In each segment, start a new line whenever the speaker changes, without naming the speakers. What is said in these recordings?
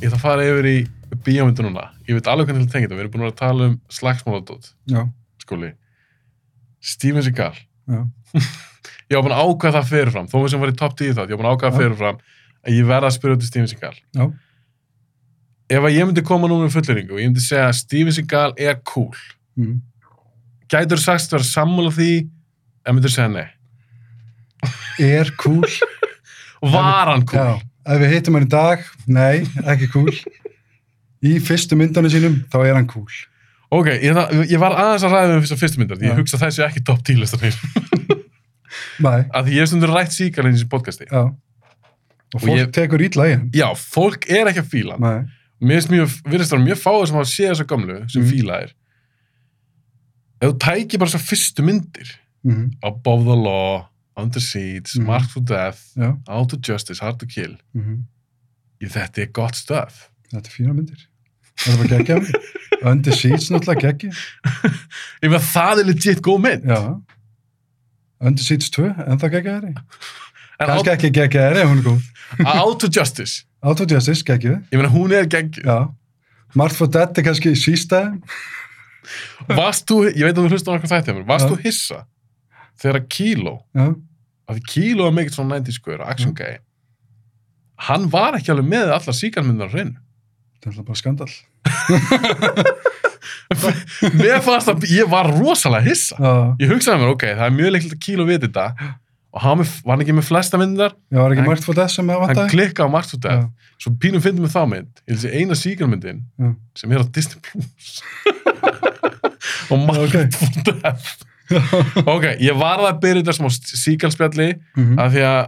ég ætla að fara yfir í bíómyndu núna. Ég veit alveg hvernig til tengið það. Við erum búin að vera að tala um slagsmáladót,
já,
skóli. Steven Seagal.
já,
Ég var búin að ákvæða það fyrirfram. Þó við sem var í top 10 þátt, ég var búin að ákvæða
Já.
fyrirfram að ég verða að spyrja út í Steven Seagal.
já,
Ef að ég myndi koma núna um fulleringu og ég myndi segja að Steven Seagal er cool,
mm.
gætur sagst vera sammála því en myndir segja nei.
er cool
Var hann cool?
já, ef við hittum hann í dag nei, ekki cool í fyrstu myndunum sínum, þá er hann cool
Ok, ég, ætla- ég var aðeins að ræða um fyrsta fyrstu myndar því
Já.
ég hugsa að þessi ekki top 10 listar mér.
nei,
Af því ég hef stundur rætt síkar eins í podcasti.
já og fólk
ég-
tekur ítla í hann
Já, fólk er ekki að fíla hann.
nei,
Mér finnst mjög, virðist það mjög fáið sem hafa séð þessa gamlu sem
Mhm.
fíla þér. Ef þú tækir bara þessar fyrstu myndir
mm.
Above the Law, Under Siege,
Mhm.
Marked to Death,
já
Out to Justice, Hard to Kill
mm.
ég, Þetta er gott stöð.
þetta er fína myndir þetta var geggja myndir Under Siege náttúrulega geggja
Ég með það er legit góð mynd.
já Under Siege 2, en það geggja þeirri
En
kannski
out,
ekki geggja þeirri, hún er góð
out to Justice
Out of Justice, geggju,
ég meina hún er gegn
já Marth for Dead er kannski sísta
varst þú, ég veit að þú hlustar okkur þætti hjá mér, varst
Já.
þú hissa þegar Kilo,
já,
af því Kilo er mikið svona 90
Mhm.
skoður, action guy hann var ekki alveg með allar síkarmyndar á hreinu.
það er alltaf bara skandal
mér fannst að ég var rosalega hissa
já,
ég hugsaði mér, ok, það er mjög leikilt að Kilo viti þetta og hann var með- var hann ekki með flesta myndar
já, var ekki
Hann-
Marth for Dead sem að
hann
vanta
klikkaði á margt út af
já,
svo pínum fyndum við þá mynd ég þessi eina síkarmyndin
Já.
sem er á Disney Plus og margt
Ok.
út af ok, ég varð að byrja þetta smá síkalspjalli
mhm,
af því að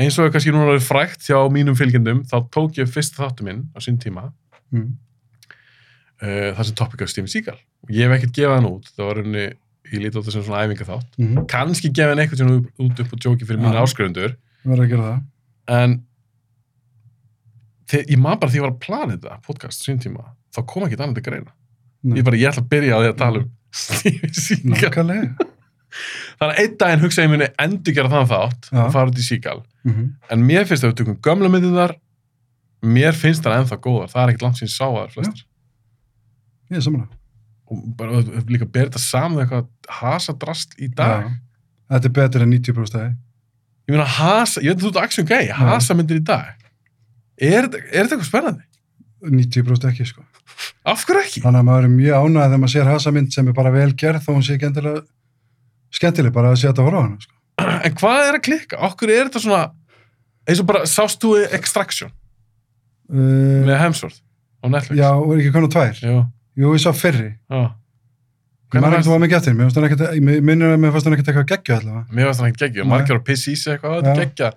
eins og er kannski núna er frækt hjá mínum fylgjendum þá tók ég fyrst þáttu minn á sín tíma
mhm,
uh, þar sem topic af Steven Seagal og ég hef ekkert gefað hann út það var henni, ég líti á þetta sem svona æfinga þátt
mhm,
kannski gefið hann eitthvað sem út upp og jóki fyrir mínu
Já.
áskrifundur
verður að gera það
en þegar, ég man bara því ég var að plana þetta podcast á sín tíma þá kom ekki annað til greina
Nei. Mm.
ég bara, ég ætla að byrja á því að tala um Steven Seagal
nákvæmlega
þannig að einn daginn hugsa ég muni endurgera þann þátt
Já.
og fara út í Seagal
Mhm,
en mér finnst að við tökum gömla myndirnar mér finnst það ennþá góðar það er ekkert langt sín sá að það flestar
ég er saman
og bara við- við líka berið þetta saman við eitthvað hasadrast í dag
þetta er betur en 90% af því.
ég meina hasa, ég veit að þú ert action gay hasa myndir í dag er, þetta- er þetta eitthvað spennandi?
90% ekki sko
af hverju ekki?
þannig að maður er mjög ánægð þegar maður sér hasamynd sem er bara vel gerð þó hún sé ekki endilega skemmtileg bara að sé þetta að horfa á hana sko.
en hvað er að klikka? okkur er þetta svona eins og bara sást þú Extraction
uh,
með Hemsworth á Netflix
Eh, já, og er ekki konar tvær
Jú,
jú, ég sá fyrri
já.
Ég
Hvernig
man ekki
fannst-
þú var mikið eftir, mér fannst hann ekkert, ég minnir að mér fannst hann ekkert eitthvað geggju allavega.
mér varst hann ekkert geggja,
Nei.
margir að pissa í sig eitthvað, þetta
Já.
er geggja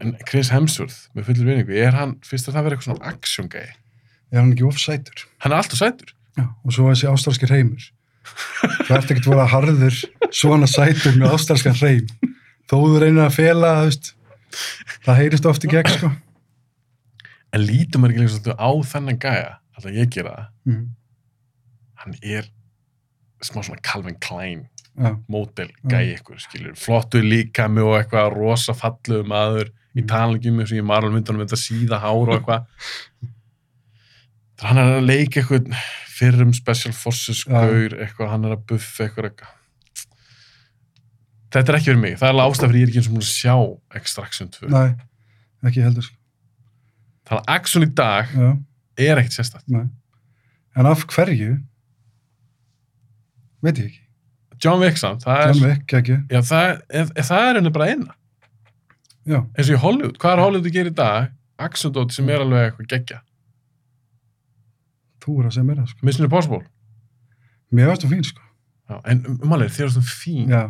en Chris Hemsworth, með fullir vinningu er hann, finnst þér það að vera eitthvað svona action gay
Er hann ekki offsætur?
hann er alltaf sætur
Já. Og svo þessi ástralskir heimur. Þú ert ekkert voru að harður svona sætur með ástralskan heim. Þó þú reynir að fela, þú veist, það heyrist oft í gegn, sko.
en lítum er ekki líka svolítið á þennan gæja alltaf ég gera það,
Mm.
hann er smá svona Calvin Klein
Já,
mótel gæja ykkur, skilur flottu líkami og eitthvað rosa fallu maður í
Mm.
talingum eins og ég marlum myndunum þetta síða hár og eitthvað Þannig hann er að leika eitthvað fyrrum special forces
Já.
gaur, eitthvað, hann er að buffa eitthvað, eitthvað þetta er ekki fyrir mig, það er alveg ástæð fyrir ég er ekki eins og múin að sjá Extraction 2
næ, ekki heldur, sko.
þannig að Action í dag
Já,
er ekkert sérstætt
næ. En af hverju? Veit ég ekki.
John Wick samt, það er,
Glemmi ekki, geggju.
Já, það, ef, ef það er henni bara eina
Já,
eins og í Hollywood, hvað er Hollywood að gera í dag? Action dot sem er alveg eitthvað geggja
þú er að segja mér það, sko.
Mission Impossible
Mér varst þú fín, sko.
Já, en málir, þér er svona fín
Já.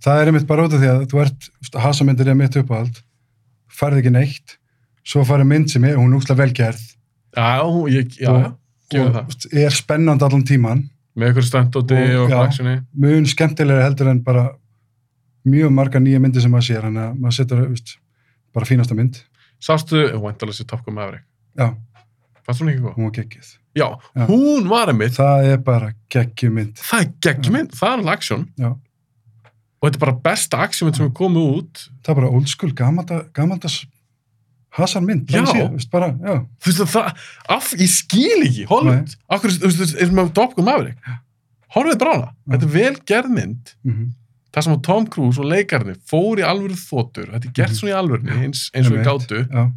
Það er einmitt bara út af því að þú ert, hasamyndir er mitt uppáhald, færð ekki neitt, svo farið mynd sem er, hún er úkslega velgerð
Já, ég, já,
Og-
gefum það
og er spennandi allan tíman,
með ykkur standóti
Og-
og
já.
actioni
mun skemmtilega heldur en bara mjög marga nýja myndir sem maður sér, þannig að maður setur, veist, bara fínasta mynd.
Sástu, væntalega sér Top Gun Maverick
Já,
Fannst hún ekki góð?
hún var geggið.
Já,
Já.
hún var einmitt
Það er bara geggjum mynd.
Það er geggjumynd, það er alveg action
Já.
Og þetta er bara besta actionmynd sem er komið út
Það er bara old school, gamalda, gamaldas Hassan mynd,
Já.
þannig séð, veist, bara, já.
þú veist að það, af, ég skil ekki Hollywood, akkur, þú veist, erum við Dopgum Maverick horfið bara á hana, þetta er vel gerð mynd
Mm
það sem að Tom Cruise og leikarni fór í alvöru þotur, þetta er gert svona í alvörni eins, eins og við
Mhm. Einmitt.
gátu,
já.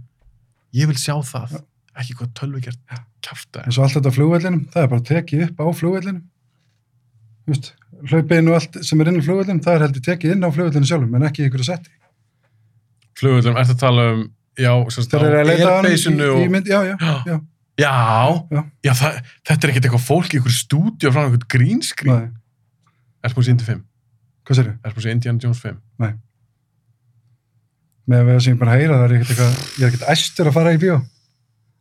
ég vil sjá það ekki hvað tölvi gert kjafta
eins og allt þetta á flugvellinum, það er bara tekið upp á flugvellinum Þú veist, hlaupið inn og allt sem er inn á flugvellinum, það er heldur tekið inn á flugvellinu sjálfum, en ekki í ykkur að setja
flugvöldum, ertu að tala um já, sem sagt,
þeir eru að leita að honum
airbaseinu
í, í
og
mynd, já, já,
já,
já.
já,
Já.
já það, þetta er ekkert eitthvað fólk í einhverju stúdíu frá einhverjum grínskrín
nei,
er spúin sér Indy 5,
hvað sér ég?
er spúin sér Indiana Jones 5
með að vera sem ég bara heyra, það er ekkert eitthvað ég er ekkert æstur að fara í bíó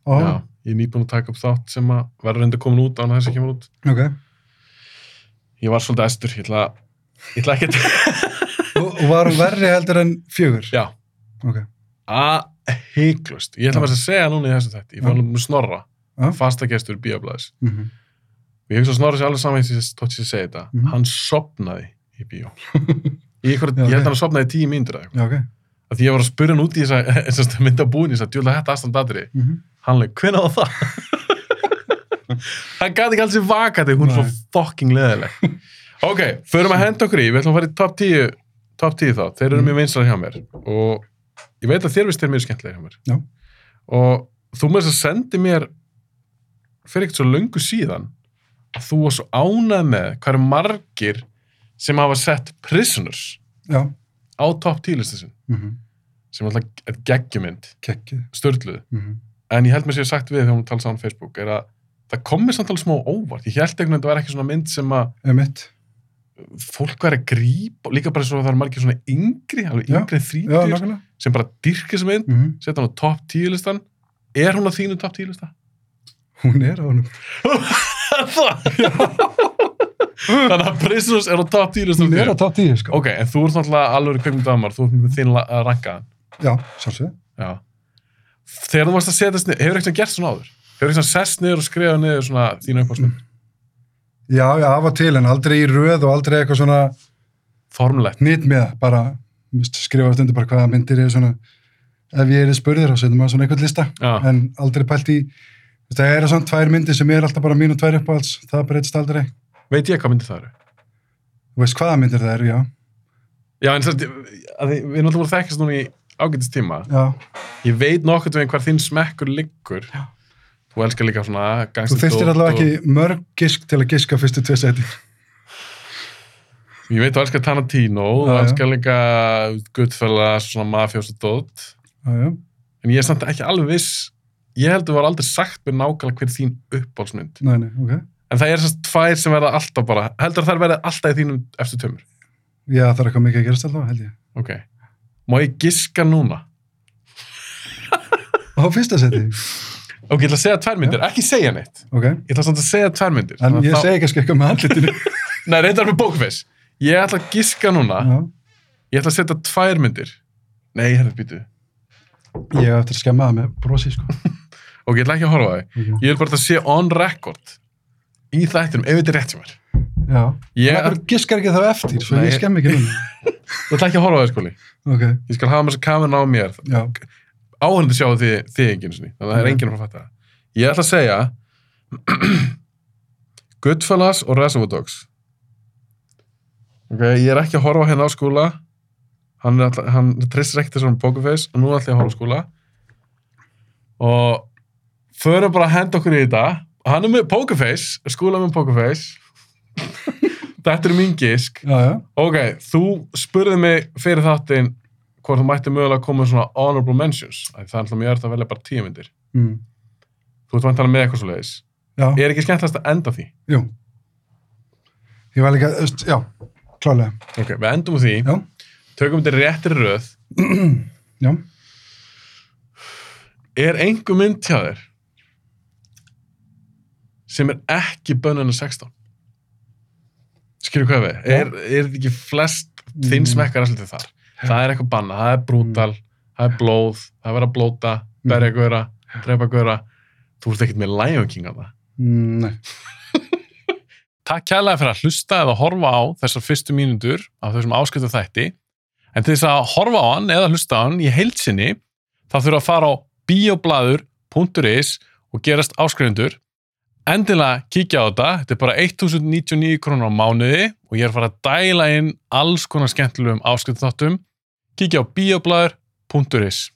Ó,
já, ég er nýbúin að taka upp þátt sem að verður enda komin út án að þessi kemur út
ok
ég var svolítið estur, ég ætla ég ætla ekkert,
og, og var hún verri heldur en fjögur
já
ok,
að heiklust, ég ætla
Já.
bara að segja núna í þessu þetta, ég
Já.
fór alveg með snorra
Já.
fastagestur bíoblæðis
mm
og ég hugsa að Snorri sé alveg saman þótt ég að segja þetta,
Mhm.
hann sopnaði í bíó ég, ykkur,
Já,
ég held
ok.
að hann sopnaði í tíu myndir að
já, ok
því ég var að spyrja hann út í þess að mynda búin þess að djúla þetta aðstand aðri
mm -hmm.
hann leik, hvenær var það? hann gæti ekki alls í vakandi hún er svo
Nei.
fucking leðileg ok, förum að henda okkur í við ætlum að fara í top 10 top 10 þá, þeir eru
Mhm.
mjög vinslar hjá mér og ég veit að þér vist þeir mjög skemmtilega hjá mér
Já.
og þú með þess að sendi mér fyrir ekkert svo löngu síðan að þú var svo ánað með hvað eru margir sem hafa sett prisoners
já,
á top 10 listasinn
mm
sem er alltaf er geggjumynd,
kekkið
störluð
mm
en ég held mér sér sagt við þegar hún talaði saman á Facebook er að það komið samt alveg smá óvart ég held einhvern veginn að það var ekki svona mynd sem að
emitt,
fólk væri að grípa og líka bara svo að það er margir svona yngri alveg
Já.
yngri
já,
þrítur
nákvæmlega
sem bara dyrkir sem mynd
mm
setja hann á top 10 listan er hún á þínu top 10 lista?
hún er á honum
þannig að Prisoners er á top 10 listan
hún
hjá
er
þér.
á top 10 sko
ok, en þú ert náttúrulega alveg kveikmyndamar þú ert með þín la- að ranka hann
já, sjálfsög
Já. þegar þú varst að setja niður hefur eitthvað gert svona áður hefur eitthvað sest niður og skrifað niður svona þínu uppáhaldsmynd
já, já, af og til, en aldrei í röð og aldrei eitthvað svona Mm.
formlegt
nýtt með það, bara þú veist, skrifa eftir undir bara hvaða myndir er svona ef ég er spurður á setjum maður svona einhvern lista
Já.
en aldrei pælt í þú veist, það eru svona tvær myndir sem er alltaf bara mín og tvær uppáhalds það breytist aldrei,
veit ég hvað myndir það eru
þú veist hvaða myndir það eru já,
já, en þess að að þið- við erum alltaf voru að þekkast núna í ágætist tíma
já,
ég veit nokkurt veginn hvar þín smekkur liggur
Já.
þú elskar líka svona
þú þyrstir
dót
allavega ekki mörg gisk til að giska fyrstu tvei seti
og, ég veit þú elskar Tarantino þú
Já, já.
elskar líka Goodfellas svona mafjós og dót
já, já,
en ég er samt ekki alveg viss ég held að þú var aldrei sagt mér nákvæmlega hver þín uppbólsmynd
næ, næ, ok
en það er þess að tvær sem verða alltaf bara heldur að þær verða alltaf í þínum eftir tömur
já, það er eitthvað mikið að gerast allavega, held ég
ok, má ég giska núna
á fyrsta seti,
ok, ég ætla að segja tvær myndir, ekki segja neitt
ok
ég ætla samt að segja tvær myndir
en
Þannig að
ég
þá-
segi kannski eitthvað með andlitinu
Nei, reyndar með bókfess ég ætla að giska núna
já,
ég ætla að setja tvær myndir nei, hérna býtu,
ég hef eftir að skemma það með brosi sko
ok, ég ætla ekki að horfa á þau
okay.
ég vil bara að sé on record í þættinum, ef þetta er rétt sem er
já,
Ég-
ég... giskar ekki þá eftir svo
Nei.
ég skemm ekki núna
ég ætla ekki að horfa á þau skóli
ok,
ég skal hafa með þess að kamerna á mér
já
áhörnandi sjá því, því enginn sinni. þannig að það er
Mhm.
enginn að fara að fatta það ég ætla að segja Goodfellas og Reservoir Dogs ok, ég er ekki að horfa hérna á skúla hann, er alltaf, hann tristir ekkert þessum pokerface og nú ætla ég að horfa á skúla og förum bara að henda okkur í þetta hann er með pokerface, skúla með pokerface þetta er mín gisk
Já, já,
Ok, þú spurði mig fyrir þáttinn hvort þú mætti mögulega að koma með svona honorable mentions. Af því Það er alltaf mjög erfitt að velja bara tíu myndir.
mm.
Þú ert vantanlega með eitthvað svo leiðis.
já,
Er ekki skemmtilegast að enda á því?
jú. Ég var líka, þú veist, já, klálega,
Ok, við endum á því,
já,
tökum þetta réttir röð.
já.
Er einhver mynd hjá þér sem er ekki bönnun að 16? Skilju hvað við?
Já.
Er, er þetta ekki flest
Mm.
þinn smekkar alltaf þar? Það er eitthvað banna, það er brútal, það er blóð, það er verið að blóta, berja góra, drepa góra. Þú ert ekkert með Lion King á það.
Mm, Nei,
Takk kærlega fyrir að hlusta eða horfa á þessar fyrstu mínútur af þessum ásköldu þætti. En til þess að horfa á hann eða hlusta á hann í heilsinni, þá þurfa að fara á bioblaður.is og gerast áskrifundur. Endilega kíkja á þetta, þetta er bara 1099 krónur á mánuði og ég er að fara að dæla inn alls konar skemmtilegum áskrifnþáttum. Kíkja á bioblaður.is.